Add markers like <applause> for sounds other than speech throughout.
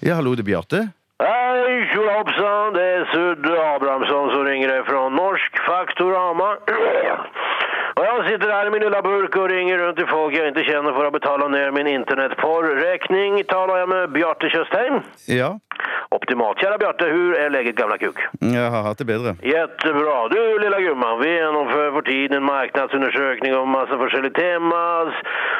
Ja, hallo, det er Bjarte. Hei, tjolahoppsan! Det er Sudde Abrahamsson som ringer deg fra Norsk Faktorama. Og jeg sitter her i min lille burk og ringer rundt til folk jeg ikke kjenner for å betale ned min internettporrregning. Taler jeg med Bjarte Tjøstheim? Ja, Optimalt. Kjære Bjarte, hvordan er läget, gamla kuk? jeg har hatt det bedre. Jättebra. Du lilla gumman, vi genomför för tiden en marknadsundersökning om massa forskjellige temas.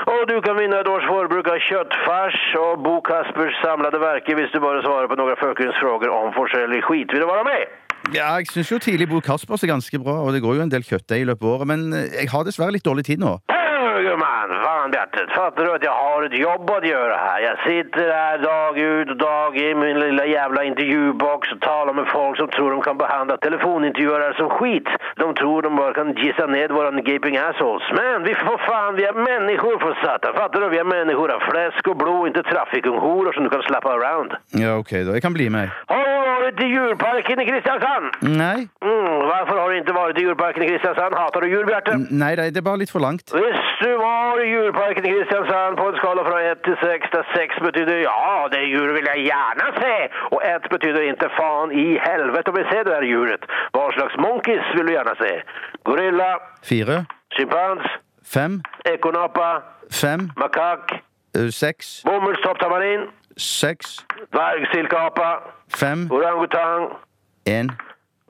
Och du kan vinna ett års förbruk av köttfärs och Bo Kaspers samlade verker hvis du bara svarar på några förkunskapsfrågor om forskjellig skit. Vill du vara med? Ja, jeg syns jo tidlig Bo Kaspers er ganske bra, og det går jo en del kjøttdeig i løpet av året, men eh, jeg har dessverre litt dårlig tid nå. Hej, gumman! Fan Bjarte, fattar du att jag har ett jobb att göra här? Jag sitter här dag ut och dag in med min lilla jävla intervjubox och talar med folk som tror de kan behandla telefonintervjuare som skit. De tror de bara kan gissa ned våran gaping assholes. Men vi får fan, vi är människor för satan. Fattar du? Vi är människor av fläsk och blod, inte traffickunghoror som du kan slappa around. Ja, ok, da. Jeg kan bli med. Har du varit i djurparken i Kristiansand? Nei. Mm, varför har du inte varit i djurparken i Kristiansand? Hatar du djur, Bjarte? N- Nei, nei, det er bare litt for langt. Hvis du var i djurparken i Kristiansand på en skala fra 1 til 6, der 6 betydde ja, det djuret vil jeg gjerne se, og 1 betydde inte faen i helvete vil se det der djuret. Hva slags monkeys vil du gjerne se? Gorilla, Fire, sjimpans, fem, ekonapa, fem, makak, ø, seks, bomullstopptamarin, seks, dvergsilkeapa, fem, orangutang. én.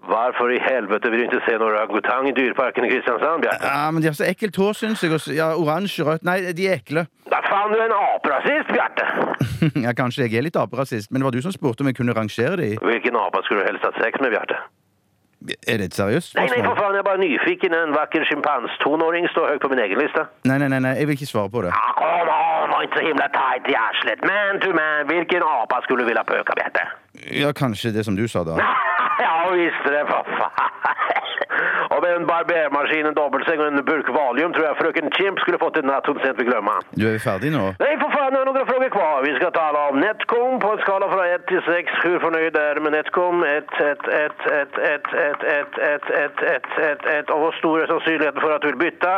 Varför i helvete vill du inte se någon orangutang i djurparken i Kristiansand, Bjarte? Ja, men de har så ekkelt hår, syns jeg. og så- Ja, Oransje, rødt Nei, de er ekle. Da faen, du er en aperasist, Bjarte! <laughs> Ja, Kanskje jeg er litt aperasist, men det var du som spurte om jeg kunne rangere de. Hvilken apa skulle du helst hatt sex med, Bjarte? Er det et seriøst Nei, nei, for spørsmål? faen, jeg er bare nyfiken. En vakker sjimpans-tonåring står høyt på min egen liste. Nei, nei, nei, nei, jeg vil ikke svare på det. Ja, kom an, var ikke så himla tight i arslet. Man to man, hvilken apa skulle du ville pøka, Bjarte? Ja, kanskje det som du sa, da. <laughs> ja, visst det, for <laughs> faen. Og med en barbermaskin, en dobbeltseng og en burk valium tror jeg frøken Chimp skulle fått en natt hun sent vil glemme. Du er jo ferdig nå? Nei, for faen, jeg har noen frågor kvar. Vi skal tale om Netcom på en skala fra 1 til 6. Hvor fornøyd er du med Netcom? 1, 1, 1, 1, 1, 1, 1, 1, 1, 1, 1, 1. Og hvor stor er sannsynligheten for at du vil bytte?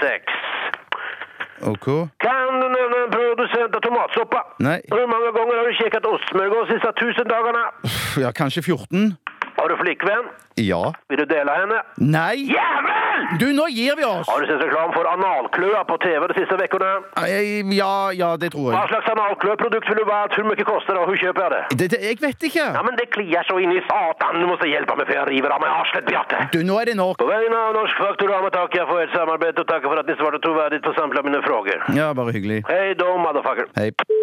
6. OK? Kan du nevne en produsent av tomatsoppa? Nei. Hvor mange ganger har du kikket ostsmørgås de siste 1000 dagene? Pff, Ja, kanskje 14? Har du flikkvenn? Ja. Vil du dele henne? Nei! Jævel! Du, nå gir vi oss! Har du sett reklam for analkløa på TV de siste vekkene? Nei, Ja, ja, det tror Hva jeg. slags analkløprodukt vil du ha? Hvor mye koster det, og hvor kjøper jeg det? Det, det, jeg vet ikke! Ja, men det kliar så inn i satan. Du må hjelpe meg før jeg river av meg arslet, Bjarte. Du, nå er det nok. På vegne av Norsk Faktorama takker jeg for ert samarbeid og takker for at dere svarte troverdig på samtlige av mine spørsmål. Ja, bare hyggelig. Hei då, motherfucker. Hei.